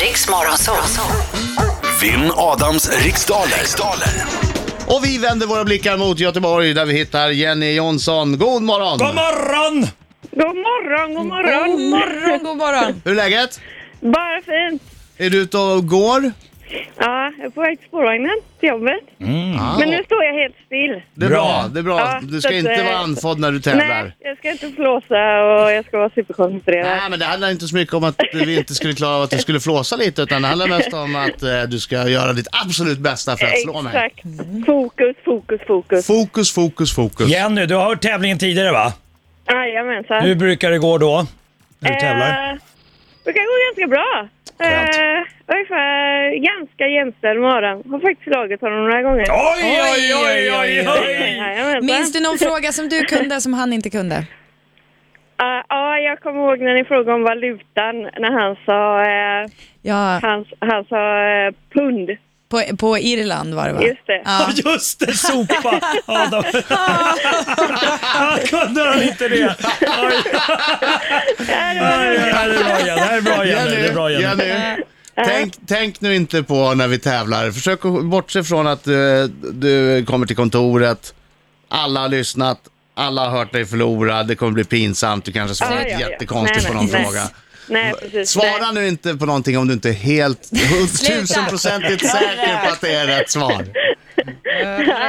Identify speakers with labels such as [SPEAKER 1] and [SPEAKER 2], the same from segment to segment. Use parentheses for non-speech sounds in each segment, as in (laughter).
[SPEAKER 1] Riks Morgonzoo.
[SPEAKER 2] Vinn Adams riksdaler. riksdaler.
[SPEAKER 3] Och vi vänder våra blickar mot Göteborg där vi hittar Jenny Jonsson. God morgon!
[SPEAKER 4] God morgon!
[SPEAKER 5] God morgon, god morgon.
[SPEAKER 6] God morgon, god morgon.
[SPEAKER 3] Hur är läget?
[SPEAKER 5] Bara fint.
[SPEAKER 3] Är du ute och
[SPEAKER 5] Mm.
[SPEAKER 3] går?
[SPEAKER 5] Ja, jag är på väg till spårvagnen till jobbet. Men nu står jag helt still.
[SPEAKER 3] Det är
[SPEAKER 4] Bra.
[SPEAKER 3] bra, det är bra.
[SPEAKER 5] Ja,
[SPEAKER 3] Du
[SPEAKER 5] så
[SPEAKER 3] ska
[SPEAKER 5] att,
[SPEAKER 3] inte
[SPEAKER 5] eh,
[SPEAKER 3] vara andfådd när du
[SPEAKER 5] Nej,
[SPEAKER 3] tävlar.
[SPEAKER 5] jag ska inte flåsa och jag ska vara superkoncentrerad.
[SPEAKER 3] Nej, men det handlar inte så mycket om att vi inte skulle klara av att du skulle flåsa lite, utan det handlar mest om att eh, du ska göra ditt absolut bästa för att slå mig.
[SPEAKER 5] Exakt. Fokus, fokus, fokus.
[SPEAKER 3] Fokus, fokus, fokus.
[SPEAKER 4] Jenny, du har hört tävlingen tidigare va?
[SPEAKER 5] Jajamensan.
[SPEAKER 4] Hur brukar det gå då? När du tävlar?
[SPEAKER 5] Eh, Det kan gå ganska bra.
[SPEAKER 4] Skönt.
[SPEAKER 5] Eh, ungefär ganska jämställd med Adam. Har faktiskt slagit honom några gånger.
[SPEAKER 4] Oj, oj, oj, oj, oj!
[SPEAKER 5] Jajamensan.
[SPEAKER 6] Minns du någon fråga som du kunde som han inte kunde?
[SPEAKER 5] Eh, Ja, jag kommer ihåg när ni frågade om valutan när han sa, eh,
[SPEAKER 6] Ja,
[SPEAKER 5] han, han sa eh, pund.
[SPEAKER 6] på, på Irland var det va?
[SPEAKER 5] Just det. (laughs)
[SPEAKER 6] Ja.
[SPEAKER 4] Just det, sopa! Adam. (laughs) Kunde han inte det? Oj,
[SPEAKER 5] Ja, det
[SPEAKER 4] oj, oj,
[SPEAKER 5] var roligt.
[SPEAKER 4] det här är bra Jenny, det här är bra Jenny. Det är bra, Jenny.
[SPEAKER 3] Jenny. Tänk, tänk nu inte på när vi tävlar. Försök att bortse från att eh, du kommer till kontoret, alla har lyssnat, alla har hört dig förlora, det kommer bli pinsamt, du kanske svarar
[SPEAKER 5] Ja, ja, ja.
[SPEAKER 3] jättekonstigt
[SPEAKER 5] Nej,
[SPEAKER 3] på någon
[SPEAKER 5] nej,
[SPEAKER 3] fråga.
[SPEAKER 5] Nej, precis.
[SPEAKER 3] Svara
[SPEAKER 5] Nej.
[SPEAKER 3] nu inte på någonting om du inte är helt tusenprocentigt säker på att det är rätt svar.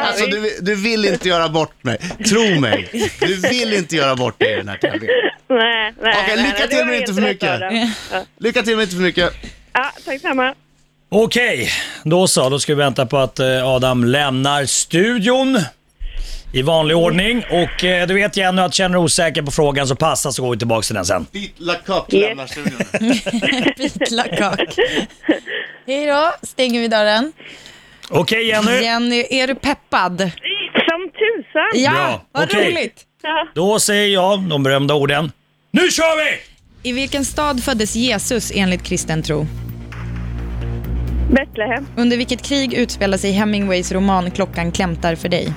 [SPEAKER 3] Alltså du, du vill inte göra bort mig. Tro mig. Du vill inte göra bort dig i den här tävlingen.
[SPEAKER 5] Nej, nej,
[SPEAKER 3] Okej,
[SPEAKER 5] nej,
[SPEAKER 3] lycka
[SPEAKER 5] nej, det
[SPEAKER 3] till,
[SPEAKER 5] var
[SPEAKER 3] men inte
[SPEAKER 5] helt
[SPEAKER 3] för
[SPEAKER 5] rätt,
[SPEAKER 3] mycket.
[SPEAKER 5] Adam. Ja.
[SPEAKER 3] Lycka till men inte för mycket.
[SPEAKER 5] Ja, tack samma.
[SPEAKER 4] Okej, då så. Då ska vi vänta på att eh, Adam lämnar studion. I vanlig ordning. Och eh, du vet Jenny att känner du osäker på frågan så passa så går vi tillbaka till den sen.
[SPEAKER 3] Ditt La Cup
[SPEAKER 5] Yes.
[SPEAKER 3] lämnar studion.
[SPEAKER 6] Vitlökskak. Hej då, stänger vi dörren.
[SPEAKER 4] Okej Jenny,
[SPEAKER 6] Jenny, är du peppad?
[SPEAKER 5] Som tusan!
[SPEAKER 6] Ja,
[SPEAKER 4] Bra,
[SPEAKER 6] vad
[SPEAKER 4] okej.
[SPEAKER 6] roligt.
[SPEAKER 5] Ja.
[SPEAKER 4] då säger jag de berömda orden. Nu kör vi! Äh,
[SPEAKER 6] I vilken stad föddes Jesus enligt kristen tro?
[SPEAKER 5] Betlehem.
[SPEAKER 6] Under vilket krig utspelar sig Hemingways roman Klockan klämtar för dig?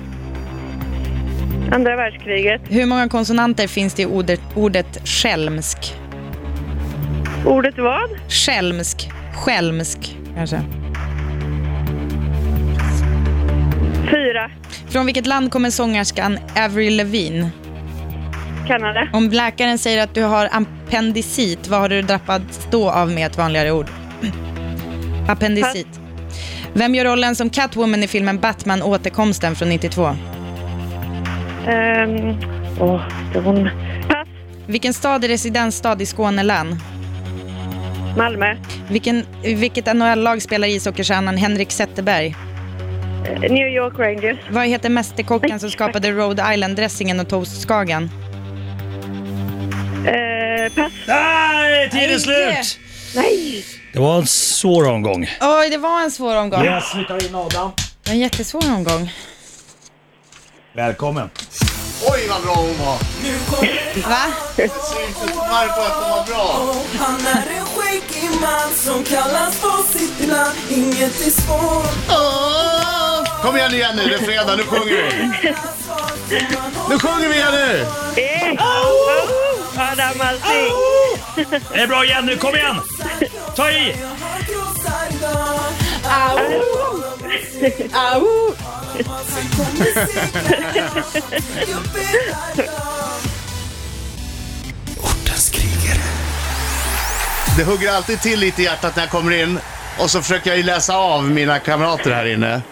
[SPEAKER 5] Andra världskriget.
[SPEAKER 6] Hur många konsonanter finns det i ordet, ordet skälmsk?
[SPEAKER 5] Ordet vad?
[SPEAKER 6] Skälmsk. Skälmsk, kanske.
[SPEAKER 5] Fyra.
[SPEAKER 6] Från vilket land kommer sångerskan Avril Lavigne?
[SPEAKER 5] Kanada.
[SPEAKER 6] Om läkaren säger att du har appendicit, vad har du drabbats då av med ett vanligare ord? (clears throat) Appendicit. Vem gör rollen som Catwoman i filmen Batman återkomsten från 92?
[SPEAKER 5] Ehm, Åh, det var hon. Pass.
[SPEAKER 6] Vilken stad är residensstad i Skånelän?
[SPEAKER 5] Malmö.
[SPEAKER 6] Vilken, vilket NHL-lag spelar ishockeystjärnan Henrik Zetterberg?
[SPEAKER 5] Eh, New York Rangers.
[SPEAKER 6] Vad heter mästerkocken som skapade Rhode Island-dressingen och Toast Skagen?
[SPEAKER 5] Eh, pass.
[SPEAKER 4] Nej, tiden är
[SPEAKER 6] Nej.
[SPEAKER 4] slut!
[SPEAKER 5] Nej!
[SPEAKER 4] Det var en svår omgång.
[SPEAKER 6] Oj, det var en svår omgång.
[SPEAKER 4] Yes, vi tar in Adam.
[SPEAKER 6] En jättesvår omgång.
[SPEAKER 4] Välkommen.
[SPEAKER 3] Oj vad bra hon var.
[SPEAKER 6] Va?
[SPEAKER 3] Varför att hon var bra?
[SPEAKER 7] Han är en skäggig man som kallas på sitt namn Inget är svårt
[SPEAKER 3] Åh! Kom igen nu Jenny, det är fredag, nu sjunger vi. Nu sjunger vi Jenny!
[SPEAKER 5] Eh. Oh, Adam Alsing.
[SPEAKER 4] Det är bra Jenny, kom igen! Ta i!
[SPEAKER 2] Ortens krigare.
[SPEAKER 3] Det hugger alltid till lite i hjärtat när jag kommer in och så försöker jag ju läsa av mina kamrater här inne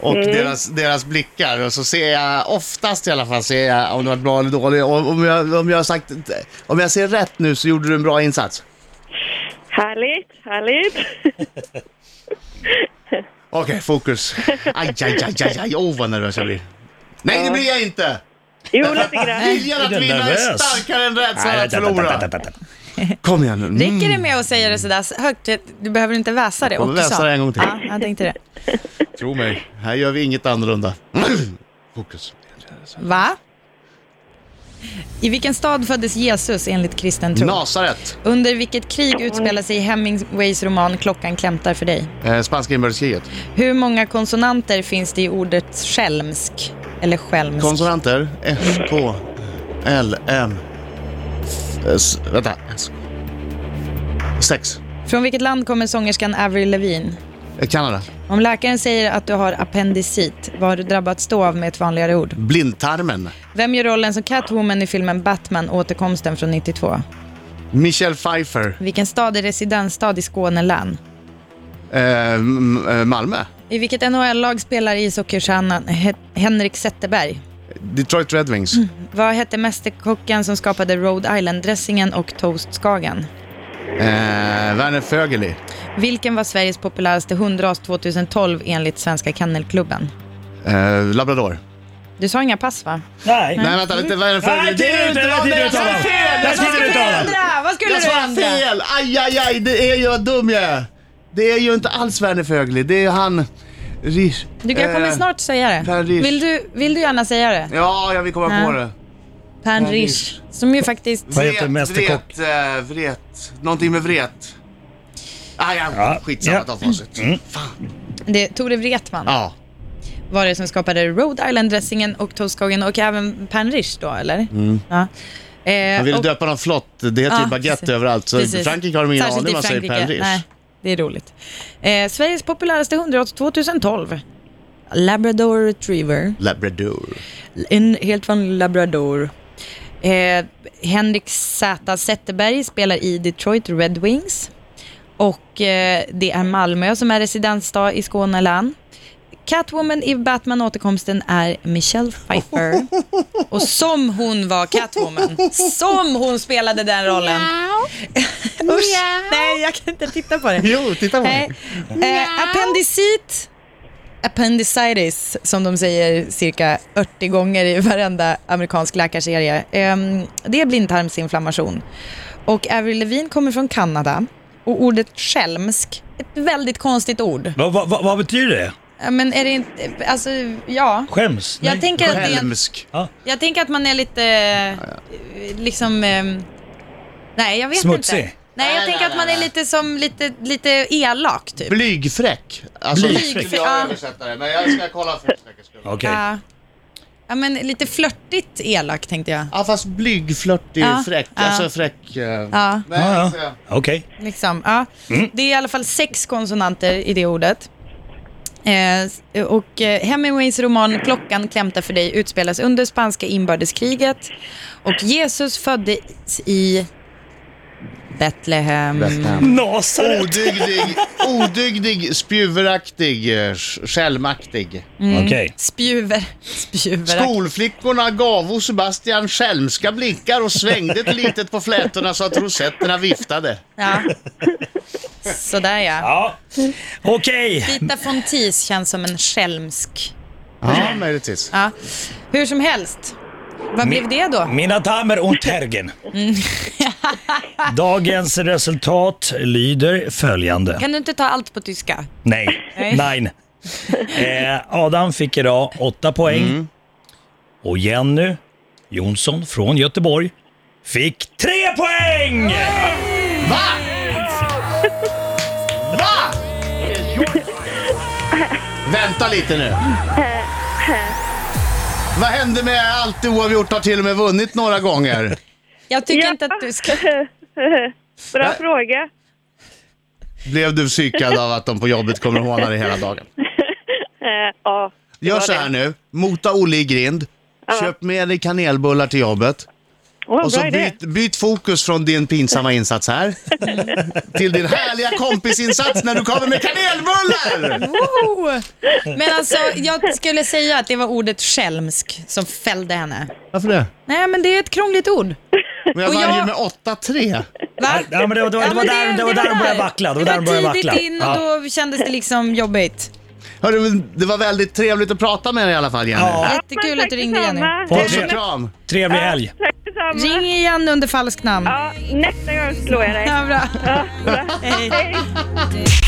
[SPEAKER 3] och deras, deras blickar och så ser jag, oftast i alla fall, ser jag om det varit bra eller dåligt. Och om jag, om jag har sagt, om jag ser rätt nu så gjorde du en bra insats.
[SPEAKER 5] Härligt, härligt. (laughs)
[SPEAKER 3] Okej, fokus. Aj, aj, aj, aj, aj, oh vad nervös jag blir. Nej, det blir jag inte!
[SPEAKER 5] Jo, lite grann.
[SPEAKER 3] Viljan att
[SPEAKER 4] Är du
[SPEAKER 3] vinna är
[SPEAKER 4] nervös?
[SPEAKER 3] starkare än rädslan
[SPEAKER 4] Nej,
[SPEAKER 3] att förlora. Kom igen nu. Mm.
[SPEAKER 6] Räcker det med att säga det sådär högt? Du behöver inte väsa det
[SPEAKER 3] Jag kommer
[SPEAKER 6] också.
[SPEAKER 3] väsa det en gång till.
[SPEAKER 6] Ja, jag tänkte det.
[SPEAKER 3] Tro mig, här gör vi inget annorlunda. (clears throat) Fokus.
[SPEAKER 6] Va? I vilken stad föddes Jesus enligt kristen tro?
[SPEAKER 3] Nasaret,
[SPEAKER 6] Under vilket krig utspelar sig Hemingways roman Klockan klämtar för dig?
[SPEAKER 3] eh, spanska inbördeskriget.
[SPEAKER 6] Hur många konsonanter finns det i ordet skälmsk? Eller skälmsk?
[SPEAKER 3] Konsonanter. F, K, L, M. S, vänta. S. Sex.
[SPEAKER 6] Från vilket land kommer sångerskan Avril Lavigne?
[SPEAKER 3] Eh, Kanada.
[SPEAKER 6] Om läkaren säger att du har appendicit, vad har du drabbats då av med ett vanligare ord?
[SPEAKER 3] Blindtarmen.
[SPEAKER 6] Vem gör rollen som Catwoman i filmen Batman återkomsten från 92?
[SPEAKER 3] Michelle Pfeiffer.
[SPEAKER 6] Vilken stad är residensstad i Skåne län?
[SPEAKER 3] Eh, M- eh, Malmö.
[SPEAKER 6] I vilket NHL-lag spelar ishockeystjärnan He- Henrik Zetterberg?
[SPEAKER 3] Detroit Red Wings.
[SPEAKER 6] Vad hette mästerkocken som skapade Rhode Island-dressingen och Toast Skagen?
[SPEAKER 3] Eh, Werner Fögeli.
[SPEAKER 6] Vilken var Sveriges populäraste hundras 2012 enligt Svenska Kennelklubben?
[SPEAKER 3] Eh, Labrador.
[SPEAKER 6] Du sa inga pass va?
[SPEAKER 4] Nej.
[SPEAKER 3] Nej, vänta, vänta. Werner Fögeli.
[SPEAKER 4] Nej, det är du inte! Där tittade du
[SPEAKER 3] Jag
[SPEAKER 4] ut
[SPEAKER 3] sa
[SPEAKER 4] honom!
[SPEAKER 3] fel!
[SPEAKER 4] Där
[SPEAKER 3] Jag sa
[SPEAKER 4] tittade du ut honom!
[SPEAKER 6] Vad skulle
[SPEAKER 3] Jag
[SPEAKER 6] du
[SPEAKER 3] sa
[SPEAKER 6] ändra?
[SPEAKER 3] fel! Aj, aj, aj. Det är ju vad dum jag är. Det är ju inte alls Werner Fögeli. Det är ju han... Rish.
[SPEAKER 6] Du, jag kommer
[SPEAKER 3] Eh,
[SPEAKER 6] snart säga det.
[SPEAKER 3] Paris.
[SPEAKER 6] Vill du, vill du gärna säga det?
[SPEAKER 3] Ja, jag vill komma på
[SPEAKER 6] Ja.
[SPEAKER 3] det.
[SPEAKER 6] Pan
[SPEAKER 3] Paris.
[SPEAKER 6] Rish, som ju faktiskt...
[SPEAKER 4] Vad heter mästerkock?
[SPEAKER 3] Vret, eh, vret. Någonting med vret. Ah, ja, Mm.
[SPEAKER 4] Ja.
[SPEAKER 3] skitsamma.
[SPEAKER 4] Ja.
[SPEAKER 3] Ta facit. Fan.
[SPEAKER 6] Det, Tore Wretman
[SPEAKER 3] Ja.
[SPEAKER 6] var det som skapade Rhode Island-dressingen och toastkagen och även Pan Rish då, eller? Ja. Eh,
[SPEAKER 3] Mm. Man ville
[SPEAKER 6] och-
[SPEAKER 3] döpa någon flott. Det heter
[SPEAKER 6] Ja,
[SPEAKER 3] ju baguette
[SPEAKER 6] precis.
[SPEAKER 3] överallt. Så
[SPEAKER 6] Precis.
[SPEAKER 3] i Frankrike har de ingen
[SPEAKER 6] Särskilt
[SPEAKER 3] aning
[SPEAKER 6] i
[SPEAKER 3] vad man säger
[SPEAKER 6] Frankrike.
[SPEAKER 3] Paris.
[SPEAKER 6] Nej, det är roligt. Eh, Sveriges populäraste hundrats 2012. Labrador retriever.
[SPEAKER 3] Labrador.
[SPEAKER 6] En helt vanlig labrador. Eh, Henrik Z. Zetterberg spelar i Detroit Red Wings. Och eh, det är Malmö som är residensstad i Skåne län. Catwoman i Batman återkomsten är
[SPEAKER 3] (laughs)
[SPEAKER 6] Michelle Pfeiffer. Och som hon var Catwoman. Som hon spelade den rollen. (laughs) Usch, nej jag kan inte titta på det.
[SPEAKER 3] Jo, titta på
[SPEAKER 6] Nej.
[SPEAKER 3] mig.
[SPEAKER 6] Eh, appendicit, appendicitis som de säger cirka 80 gånger i varenda amerikansk läkarserie. Ehm, det är blindtarmsinflammation. Och Avril Lavigne kommer från Kanada. Och ordet skälmsk, ett väldigt konstigt ord.
[SPEAKER 4] Vad, vad, vad, vad betyder det?
[SPEAKER 6] Ja, Men är det inte, alltså ja.
[SPEAKER 4] Skäms?
[SPEAKER 6] Jag tänker, att det är,
[SPEAKER 3] Helmsk.
[SPEAKER 6] jag tänker att man är lite, eh, liksom, eh, nej jag vet inte.
[SPEAKER 4] Smutsig.
[SPEAKER 6] Nej, jag tänker att man är lite som, lite, lite elak typ.
[SPEAKER 3] Blygfräck. Alltså,
[SPEAKER 4] Blygfräck.
[SPEAKER 3] skulle
[SPEAKER 6] Ja.
[SPEAKER 3] Jag översätta det, men jag ska kolla för säkerhets skull.
[SPEAKER 4] Okej.
[SPEAKER 6] Ja. ja, men lite flörtigt elak tänkte jag.
[SPEAKER 3] Ja, fast blyg, flörtig,
[SPEAKER 6] Ja,
[SPEAKER 3] fräck.
[SPEAKER 6] ja.
[SPEAKER 3] Alltså fräck. eh,
[SPEAKER 6] Ja,
[SPEAKER 3] men,
[SPEAKER 4] Ja,
[SPEAKER 3] alltså,
[SPEAKER 4] ja. Okej.
[SPEAKER 6] liksom. ja. Det är i alla fall sex konsonanter i det ordet. Eh, och eh, Hemingways roman Klockan klämtar för dig utspelas under spanska inbördeskriget. Och Jesus föddes i Betlehem.
[SPEAKER 3] Betlehem.
[SPEAKER 4] Nasaret!
[SPEAKER 3] Odygdig, odygdig, spjuveraktig, eh, sk- skälmaktig.
[SPEAKER 6] Mm.
[SPEAKER 4] Okej.
[SPEAKER 6] Spjuver. Spjuver.
[SPEAKER 3] Skolflickorna gavo Sebastian skälmska blickar och svängde ett litet på flätorna så att rosetterna viftade.
[SPEAKER 6] Ja. Sådär ja.
[SPEAKER 4] Ja. Okej.
[SPEAKER 6] Rita Fontis känns som en skälmsk
[SPEAKER 3] Ja, möjligtvis.
[SPEAKER 6] Ja. Hur som helst, vad blev det då?
[SPEAKER 4] Mina damer och tergen.
[SPEAKER 6] Mm. (laughs)
[SPEAKER 4] Dagens resultat lyder följande.
[SPEAKER 6] Kan du inte ta allt på tyska?
[SPEAKER 4] Nej,
[SPEAKER 6] Nej.
[SPEAKER 4] nein. Eh, Adam fick idag åtta poäng. Och Jenny Jonsson från Göteborg fick tre poäng!
[SPEAKER 3] Va? Va? Vänta lite nu. Vad hände med allt du oavgjort har till och med vunnit några gånger?
[SPEAKER 6] Jag tycker
[SPEAKER 5] Ja.
[SPEAKER 6] inte att du ska...
[SPEAKER 5] Bra
[SPEAKER 3] Nej.
[SPEAKER 5] fråga.
[SPEAKER 3] Blev du psykad av att de på jobbet kommer att håna dig hela dagen?
[SPEAKER 5] Eh, ja. det
[SPEAKER 3] Gör
[SPEAKER 5] var
[SPEAKER 3] så
[SPEAKER 5] det.
[SPEAKER 3] här nu. Mota Olle i grind. Köp med dig kanelbullar till jobbet.
[SPEAKER 5] Åh,
[SPEAKER 3] Och så
[SPEAKER 5] bra idé.
[SPEAKER 3] byt, byt fokus från din pinsamma insats här till din härliga kompisinsats när du kommer med kanelbullar!
[SPEAKER 6] Woho! (laughs) Men alltså, jag skulle säga att det var ordet skälmsk som fällde henne.
[SPEAKER 3] Varför det?
[SPEAKER 6] Nej, men det är ett krångligt ord.
[SPEAKER 3] Men jag
[SPEAKER 6] Och
[SPEAKER 3] vann ju
[SPEAKER 6] jag-
[SPEAKER 3] med 8-3.
[SPEAKER 6] Va?
[SPEAKER 4] Ja, men det, var- det, var-
[SPEAKER 6] Ja,
[SPEAKER 4] det var
[SPEAKER 6] men
[SPEAKER 4] där det var där de började vackla. Det var där de började vackla.
[SPEAKER 6] tidigt in och
[SPEAKER 4] Ja.
[SPEAKER 6] då kändes det liksom jobbigt.
[SPEAKER 3] Hörru, det var väldigt trevligt att prata med dig i alla fall Jenny.
[SPEAKER 4] Ja.
[SPEAKER 6] Jättekul
[SPEAKER 5] tack
[SPEAKER 6] att du ringde Jenny.
[SPEAKER 5] detsamma.
[SPEAKER 4] Får-
[SPEAKER 3] Puss och kram.
[SPEAKER 4] Trevlig helg.
[SPEAKER 5] Tack detsamma.
[SPEAKER 6] Ring igen under falskt namn.
[SPEAKER 5] Ja, nästa gång slår jag dig.
[SPEAKER 6] Ja, bra.
[SPEAKER 5] Ja, bra. Hej.